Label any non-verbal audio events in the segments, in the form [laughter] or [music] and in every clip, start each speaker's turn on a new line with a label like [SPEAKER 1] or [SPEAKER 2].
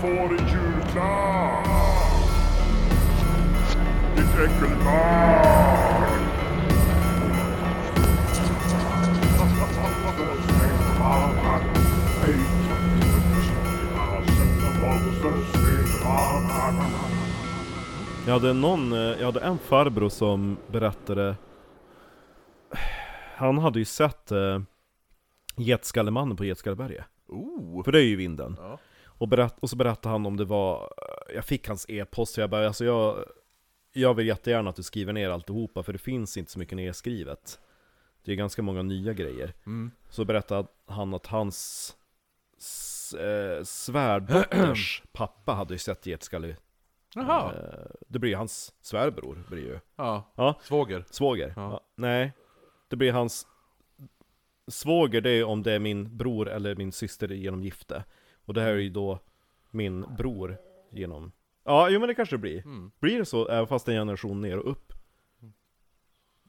[SPEAKER 1] får i julklapp? Ditt äckelbarn!
[SPEAKER 2] Jag hade någon, eh, jag hade en farbror som berättade Han hade ju sett eh, Getskallemannen på Getskalleberget
[SPEAKER 3] Oh.
[SPEAKER 2] För det är ju vinden
[SPEAKER 3] Ja.
[SPEAKER 2] och, berätt, och så berättade han om det var eh, Jag fick hans e-post och jag bara alltså jag Jag vill jättegärna att du skriver ner alltihopa för det finns inte så mycket nedskrivet Det är ganska många nya grejer
[SPEAKER 3] Mm.
[SPEAKER 2] Så berättade han att hans s- eh,
[SPEAKER 3] [clears throat]
[SPEAKER 2] svärdotters pappa hade ju sett Getskalle
[SPEAKER 3] Jaha.
[SPEAKER 2] Eh, Det blir ju hans svärbror, blir ju.
[SPEAKER 3] Ja.
[SPEAKER 2] Ja.
[SPEAKER 3] Svåger.
[SPEAKER 2] Svåger?
[SPEAKER 3] Ja.
[SPEAKER 2] Ja, nej. Det blir hans... Svåger det är ju om det är min bror eller min syster genom gifte. Och det här är ju då min bror genom... Ja, jo men det kanske det blir.
[SPEAKER 3] Mm.
[SPEAKER 2] Blir det så, även fast en generation ner och upp?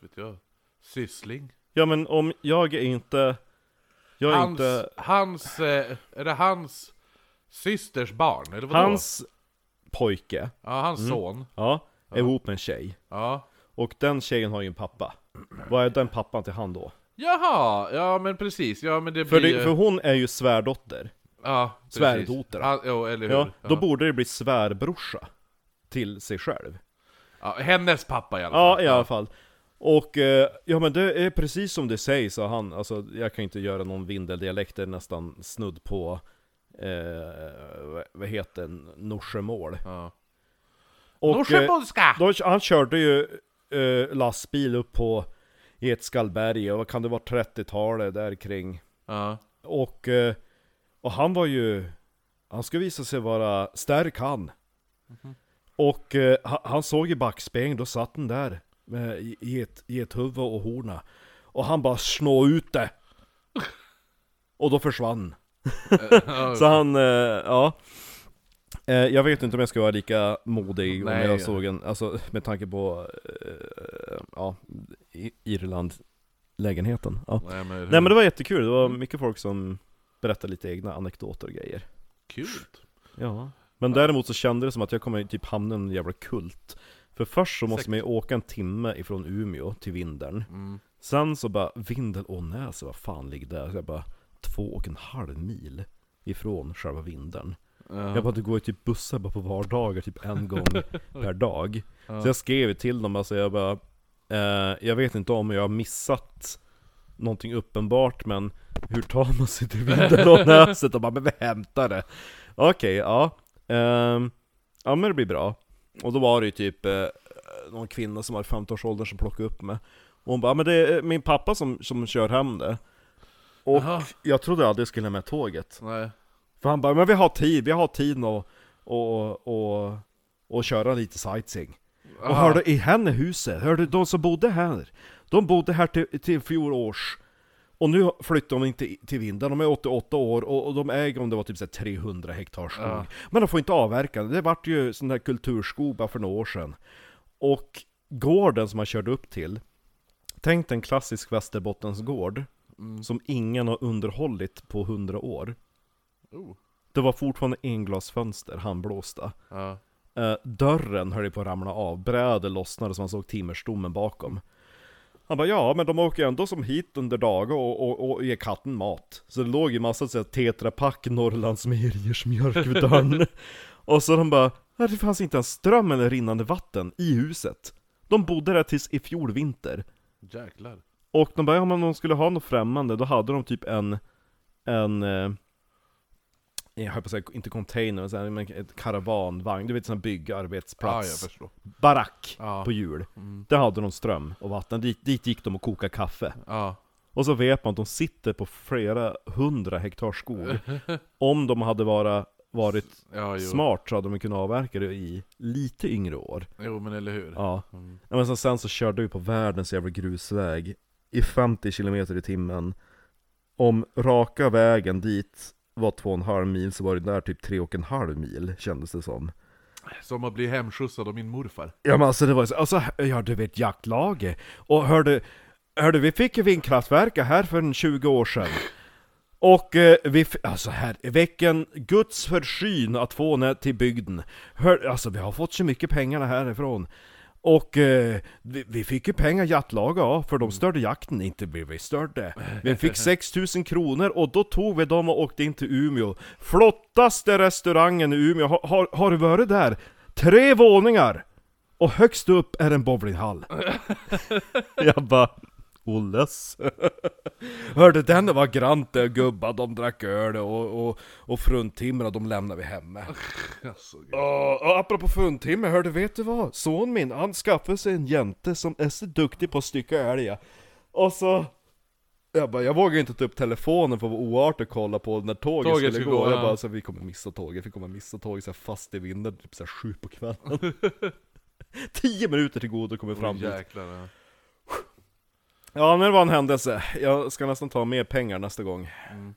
[SPEAKER 3] Vet jag. Syssling.
[SPEAKER 2] Ja men om jag är inte... Jag är
[SPEAKER 3] Hans,
[SPEAKER 2] inte...
[SPEAKER 3] hans, eh, är det hans systers barn? Eller vadå?
[SPEAKER 2] Hans Mm. pojke,
[SPEAKER 3] Ja, hans son.
[SPEAKER 2] ja, är ihop med en tjej.
[SPEAKER 3] Ja.
[SPEAKER 2] Och den tjejen har ju en pappa. Vad är den pappan till han då?
[SPEAKER 3] Jaha, ja men precis, ja men det
[SPEAKER 2] För,
[SPEAKER 3] blir
[SPEAKER 2] det,
[SPEAKER 3] ju-
[SPEAKER 2] för hon är ju svärdotter.
[SPEAKER 3] ja, precis.
[SPEAKER 2] svärdotter.
[SPEAKER 3] Ja, jo, eller hur?
[SPEAKER 2] Ja, då
[SPEAKER 3] Ja.
[SPEAKER 2] borde det bli svärbrorsa till sig själv.
[SPEAKER 3] Ja, hennes pappa i alla fall.
[SPEAKER 2] Ja, i alla fall. Och eh, ja men det är precis som det sägs, sa han. Alltså jag kan inte göra någon vindeldialekt, det är nästan snudd på, eh, vad- vad heter den, norsemål.
[SPEAKER 3] Ja.
[SPEAKER 2] Och, eh,
[SPEAKER 3] Norsebonska!
[SPEAKER 2] då, han körde ju eh, lastbil upp på Getskallberget, och vad kan det vara, 30-talet där kring. [laughs]
[SPEAKER 3] Ja.
[SPEAKER 2] Och, eh, och han var ju, han ska visa sig vara stark han. Och eh, ha- han såg i backspegeln, då satt den där med i- i ett, i ett huvud och horna. Och han bara snå ut det! Och då försvann. Så han, eh, ja. Eh, Jag vet inte om jag skulle vara lika modig
[SPEAKER 3] Nej.
[SPEAKER 2] om jag såg en, alltså med tanke på, eh, ja, I- Irland-lägenheten. Ja.
[SPEAKER 3] Nej men, hur-
[SPEAKER 2] Nej men det var jättekul, det var mycket folk som berättade lite egna anekdoter och grejer
[SPEAKER 3] kul.
[SPEAKER 2] Ja Men däremot så kände det som att jag kommer typ hamna i en jävla kult För först så måste
[SPEAKER 3] Säkert.
[SPEAKER 2] man ju åka en timme ifrån Umeå till Vindeln
[SPEAKER 3] Mm.
[SPEAKER 2] Sen så bara, Vindelånäs, alltså vad fan ligger där? Så jag bara, två och en halv mil ifrån själva Vindeln
[SPEAKER 3] Ja.
[SPEAKER 2] Jag bara, det går ju typ bussar bara på vardagar typ en gång per dag Så jag skrev ju till dem, alltså jag bara eh, Jag vet inte om jag har missat någonting uppenbart men Hur tar man sig till Vindelånäset? Och bara, men vi hämtar det! Okej, ja Ehm, Ja men det blir bra Och då var det ju typ eh, någon kvinna som var i 15-årsåldern som plockade upp mig Och hon bara, "Ja, men det är min pappa som, som kör hem det Och
[SPEAKER 3] Jaha.
[SPEAKER 2] jag trodde aldrig jag skulle med tåget
[SPEAKER 3] Nej.
[SPEAKER 2] för han bara, men vi har tid, vi har tid och, och, och, och köra lite sightseeing. Och hörde i henne huset, hörde de som bodde här, de bodde här till, till fjolårs. Och nu flyttar de inte i- till vinden, de är 88 år och, och de äger om det var typ så här 300 hektar skog.
[SPEAKER 3] Ja.
[SPEAKER 2] Men de får inte avverka det, det vart ju sån där kulturskog bara för några år sedan. Och gården som man körde upp till, tänk dig en klassisk Västerbottensgård
[SPEAKER 3] Mm.
[SPEAKER 2] som ingen har underhållit på 100 år.
[SPEAKER 3] Oh.
[SPEAKER 2] Det var fortfarande englasfönster, handblåsta.
[SPEAKER 3] Ja.
[SPEAKER 2] Eh, dörren höll ju på att ramla av, bräder lossnade så man såg timmerstommen bakom. Han bara ja, men de åker ju ändå som hit under dagar och, och, och ger katten mat. Så det låg ju massa så här tetrapack Norrlandsmejeriers mjölk vid dörren. och så de bara, "Ja, det fanns inte ens ström eller rinnande vatten i huset. De bodde där tills i fjol vinter.
[SPEAKER 3] Jäklar.
[SPEAKER 2] Och de bara, ja men om de skulle ha något främmande, då hade de typ en, en, eh, jag höll på att säga, inte container, men så här, men ett karavanvagn, du vet sån här
[SPEAKER 3] Ah, Ja, jag
[SPEAKER 2] byggarbetsplats,
[SPEAKER 3] förstår.
[SPEAKER 2] barack
[SPEAKER 3] Ja.
[SPEAKER 2] på hjul.
[SPEAKER 3] Mm.
[SPEAKER 2] Där hade de ström och vatten, dit, dit gick de och kokade kaffe.
[SPEAKER 3] Ja.
[SPEAKER 2] Och så vet man att de sitter på flera hundra hektar
[SPEAKER 3] [laughs]
[SPEAKER 2] skog. Om de hade vara, varit
[SPEAKER 3] Ja, jo.
[SPEAKER 2] smart så hade de kunnat avverka det i lite yngre år.
[SPEAKER 3] Jo men eller hur.
[SPEAKER 2] Ja.
[SPEAKER 3] Mm.
[SPEAKER 2] Ja, men sen, sen så körde vi på världens jävla grusväg i 50 km i timmen. Om raka vägen dit var 2,5 mil så var det där typ 3,5 mil kändes det som.
[SPEAKER 3] Som att bli hemskjutsad av min morfar.
[SPEAKER 2] Ja men alltså det var ju så, alltså, ja du vet jaktlaget. Och hörde, hörde vi fick ju vindkraftverket här för en 20 år sedan. Och eh, vi, f- alltså här, väcken Guds försyn att få henne till bygden. Hör, alltså vi har fått så mycket pengarna härifrån. Och eh, vi, vi fick ju pengar jaktlaga av, för de störde jakten, inte blev vi störde. Vi fick 6000 kronor och då tog vi dem och åkte in till Umeå. Flottaste restaurangen i Umeå, har, har, har du varit där? Tre våningar! Och högst upp är en
[SPEAKER 3] [laughs]
[SPEAKER 2] bowlinghall. Jag bara, Olles. Hörde den var Grante och gubbar, de drack öl och, och, och fruntimmer de lämnade vi hemma.
[SPEAKER 3] [laughs] Alltså, gud.
[SPEAKER 2] Och, och apropå fruntimmer, hörde vet du vad? Son min, han skaffade sig en jänte som är så duktig på att stycka älgar. Och så... Jag bara, jag vågar inte ta upp telefonen för att vara oartig och kolla på när tåget,
[SPEAKER 3] Tåget
[SPEAKER 2] skulle
[SPEAKER 3] ska
[SPEAKER 2] gå.
[SPEAKER 3] gå,
[SPEAKER 2] jag
[SPEAKER 3] ja.
[SPEAKER 2] bara, alltså, vi kommer missa tåget, vi kommer missa tåget så här fast i vinden typ så här sju på kvällen. Tio minuter till godo kommer fram dit.
[SPEAKER 3] Jäklar. ja.
[SPEAKER 2] Ja, men det var en händelse. Jag ska nästan ta mer pengar nästa gång.
[SPEAKER 3] Mm.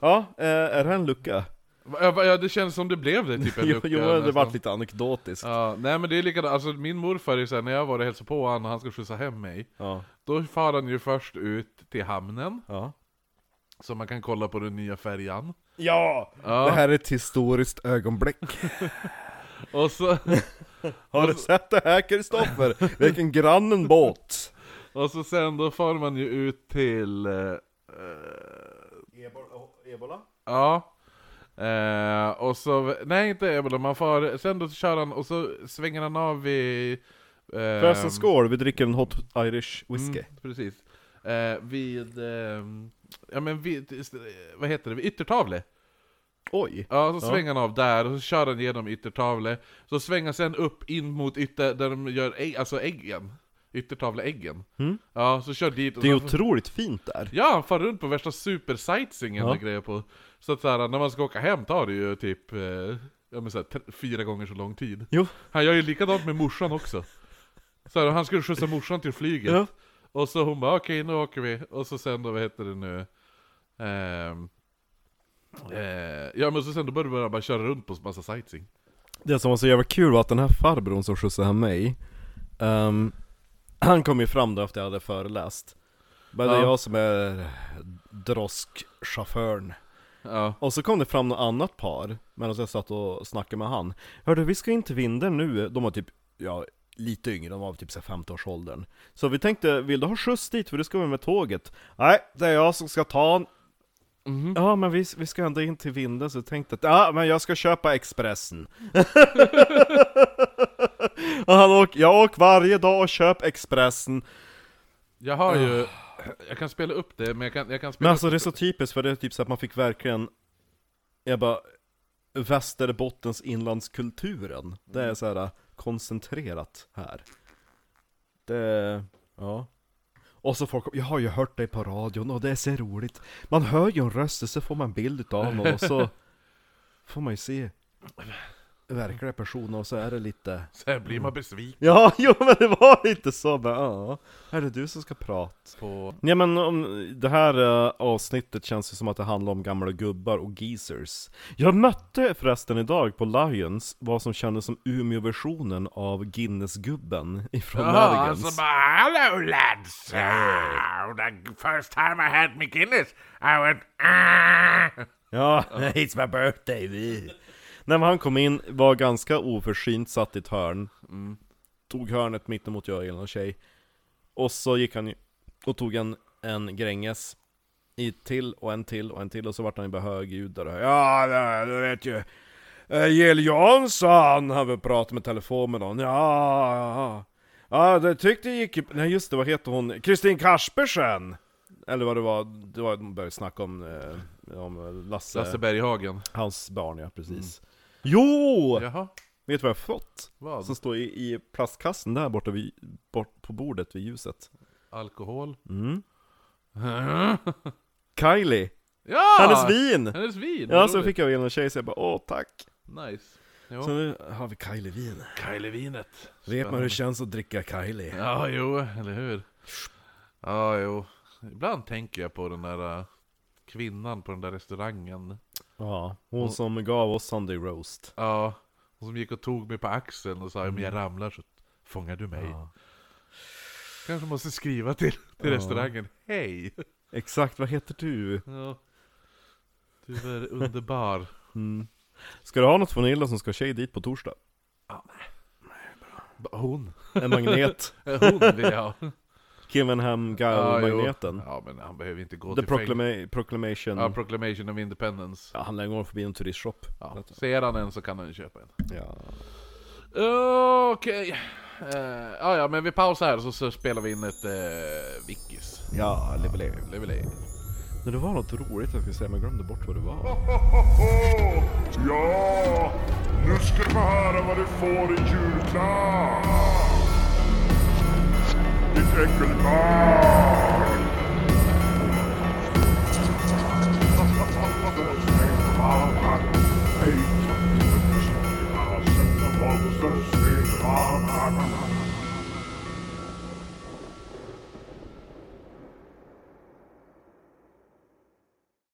[SPEAKER 2] Ja, eh, är det en lucka?
[SPEAKER 3] Va- Ja, va- ja, det känns som det blev det typ
[SPEAKER 2] [laughs]
[SPEAKER 3] en
[SPEAKER 2] Jo,
[SPEAKER 3] lucka
[SPEAKER 2] jo det
[SPEAKER 3] nästan.
[SPEAKER 2] vart lite anekdotiskt.
[SPEAKER 3] Ja, nej men det är likadant, alltså min morfar är såhär, när jag var och hälsade på honom och han ska skjutsa hem mig
[SPEAKER 2] Ja.
[SPEAKER 3] Då far han ju först ut till hamnen,
[SPEAKER 2] Ja.
[SPEAKER 3] så man kan kolla på den nya färjan
[SPEAKER 2] ja! Det
[SPEAKER 3] Ja,
[SPEAKER 2] här är ett historiskt [laughs] ögonblick.
[SPEAKER 3] och så,
[SPEAKER 2] Har du sett det här Kristoffer? Vilken grannen båt!
[SPEAKER 3] och så sen då far man ju ut till, eh,
[SPEAKER 2] Ebola?
[SPEAKER 3] ja eh, Och så, nej inte Ebola, man far, sen då kör han och så svänger han av vid ehm,
[SPEAKER 2] Förresten skål, vi dricker en hot Irish whisky.
[SPEAKER 3] Mm, precis. Eh, vid, ehm, ja men vid, eh, vad heter det, vid Yttertavle.
[SPEAKER 2] Oj!
[SPEAKER 3] Ja, så
[SPEAKER 2] Ja.
[SPEAKER 3] svänger han av där, och så kör han genom Yttertavle. Så svänger han sen upp in mot ytter, där de gör ägg, alltså äggen. Yttertavle-äggen.
[SPEAKER 2] Mm.
[SPEAKER 3] Ja, så kör dit. och
[SPEAKER 2] Det är
[SPEAKER 3] så-
[SPEAKER 2] otroligt fint där.
[SPEAKER 3] Ja, han far runt på värsta super-sightseeingen
[SPEAKER 2] Ja.
[SPEAKER 3] och grejer på. Så att så här, när man ska åka hem tar det ju typ, eh, ja men så här, tre- fyra gånger så lång tid.
[SPEAKER 2] Jo.
[SPEAKER 3] Han gör ju likadant med morsan också. Så här, han skulle skjutsa morsan till flyget.
[SPEAKER 2] Ja.
[SPEAKER 3] Och så hon bara okej nu åker vi, och så sen då vad heter det nu? Ehm, eh, ja men så sen då började man bara köra runt på massa sightseeing.
[SPEAKER 2] Det som var så jävla kul var att den här farbrorn som skjutsade hem mig ehm, [clears throat] Han kom ju fram då efter jag hade föreläst Men det är
[SPEAKER 3] Ja.
[SPEAKER 2] jag som är droskchauffören
[SPEAKER 3] Ja.
[SPEAKER 2] Och så kom det fram något annat par Medan jag satt och snackade med han Hörde vi ska in till vinden nu, de var typ, ja lite yngre, de var typ så här 50-årsåldern Så vi tänkte, vill du ha skjuts dit för du ska vara med tåget? Nej, det är jag som ska ta en Ja men vi, vi ska ändå in till vinden så jag tänkte att, ja men jag ska köpa Expressen [laughs] och han åk, Jag åker varje dag och köper Expressen
[SPEAKER 3] Jag har ju, jag kan spela upp det Ah. men jag kan, jag kan
[SPEAKER 2] Men
[SPEAKER 3] spela
[SPEAKER 2] alltså det är så typiskt för det är typ så att man fick verkligen Jag bara Västerbottens inlandskulturen Det är så här äh, koncentrerat här Det, ja och så folk, jag har ju hört dig på radion och det är så roligt Man hör ju en röst och så får man en bild utav någon och [laughs] så Får man ju se Verkliga personer och så är det lite
[SPEAKER 3] upp Sen blir man besviken
[SPEAKER 2] Ja, [laughs] jo men det var lite så men ja Är det du som ska prata?
[SPEAKER 3] på...
[SPEAKER 2] Ja men om, det här eh, avsnittet känns ju som att det handlar om gamla gubbar och geezers. Jag mötte förresten idag på Lions vad som kändes som Umeå-versionen av Guinness-gubben ifrån
[SPEAKER 3] Jaha,
[SPEAKER 2] Lions.
[SPEAKER 3] alltså bara hello lads! Ah, the first time I had my Guinness I went ah.
[SPEAKER 2] Ja, [laughs] it's my birthday! vi. Nej men han kom in, var ganska oförsynt, satt i ett hörn. Tog hörnet mittemot jag och en tjej. Och så gick han ju och tog en, en Gränges. I till och en till och en till och så vart han ju bara högljudd där. Ja, ja, du vet ju. eh, Jill Johnson har väl pratat med telefon med någon. Ja, ja, ja. Ja, det tyckte jag gick ju... Nej just det, vad heter hon? Kristin Kaspersen! Eller vad det var, det var de började snacka om, eh, om Lasse,
[SPEAKER 3] Lasse Berghagen
[SPEAKER 2] hans barn ja, precis. Jo!
[SPEAKER 3] Jaha,
[SPEAKER 2] Vet du vad jag fått?
[SPEAKER 3] Mm. vad?
[SPEAKER 2] Som står i, i plastkassen där borta vid, bort på bordet vid ljuset.
[SPEAKER 3] Alkohol?
[SPEAKER 2] Mm.
[SPEAKER 3] ja!
[SPEAKER 2] Kylie!
[SPEAKER 3] Ah!
[SPEAKER 2] Hennes vin!
[SPEAKER 3] Mm. Hennes vin!
[SPEAKER 2] Ja,
[SPEAKER 3] vad
[SPEAKER 2] så
[SPEAKER 3] roligt.
[SPEAKER 2] fick jag av en tjej så jag bara åh tack!
[SPEAKER 3] Nice.
[SPEAKER 2] Så
[SPEAKER 3] Jo.
[SPEAKER 2] nu har vi Kylie-vin.
[SPEAKER 3] Kajlevinet.
[SPEAKER 2] Vet man hur det känns att dricka Kylie?
[SPEAKER 3] Ja, jo, eller hur? Ja, jo. Ibland tänker jag på den där äh, kvinnan på den där restaurangen.
[SPEAKER 2] Ja, hon som gav oss Sunday roast.
[SPEAKER 3] Ja, Mm. hon som gick och tog mig på axeln och sa om jag ramlar så fångar du mig.
[SPEAKER 2] Ja.
[SPEAKER 3] Kanske måste skriva till, till restaurangen, hej!
[SPEAKER 2] Exakt, vad heter du?
[SPEAKER 3] Ja. Du är underbar.
[SPEAKER 2] Mm. Ska du ha något från Illa som ska tjej dit på torsdag?
[SPEAKER 3] B- [laughs] Hon.
[SPEAKER 2] En
[SPEAKER 3] [laughs]
[SPEAKER 2] magnet?
[SPEAKER 3] Hon vill jag ha.
[SPEAKER 2] Kivenham
[SPEAKER 3] Ja, jo.
[SPEAKER 2] Guile-magneten?
[SPEAKER 3] Ja, men han behöver inte gå
[SPEAKER 2] The
[SPEAKER 3] till fängelse.
[SPEAKER 2] Proclama- Proclamation?
[SPEAKER 3] Ja, Proclamation of Independence.
[SPEAKER 2] Ja, han lär gå förbi en turistshop.
[SPEAKER 3] Ja. Ser han en så kan han ju köpa en.
[SPEAKER 2] Ja.
[SPEAKER 3] Okej. Eh, ja, ja, men vi pausar här så, så spelar vi in ett uh, Vickis.
[SPEAKER 2] Ja, levelé.
[SPEAKER 3] Levelé.
[SPEAKER 2] Men det var något roligt jag skulle säga, men jag glömde bort vad det var.
[SPEAKER 1] Hohoho! [laughs] Ja, nu ska du få höra vad du får i julklapp! Ditt äckelbarn! [laughs]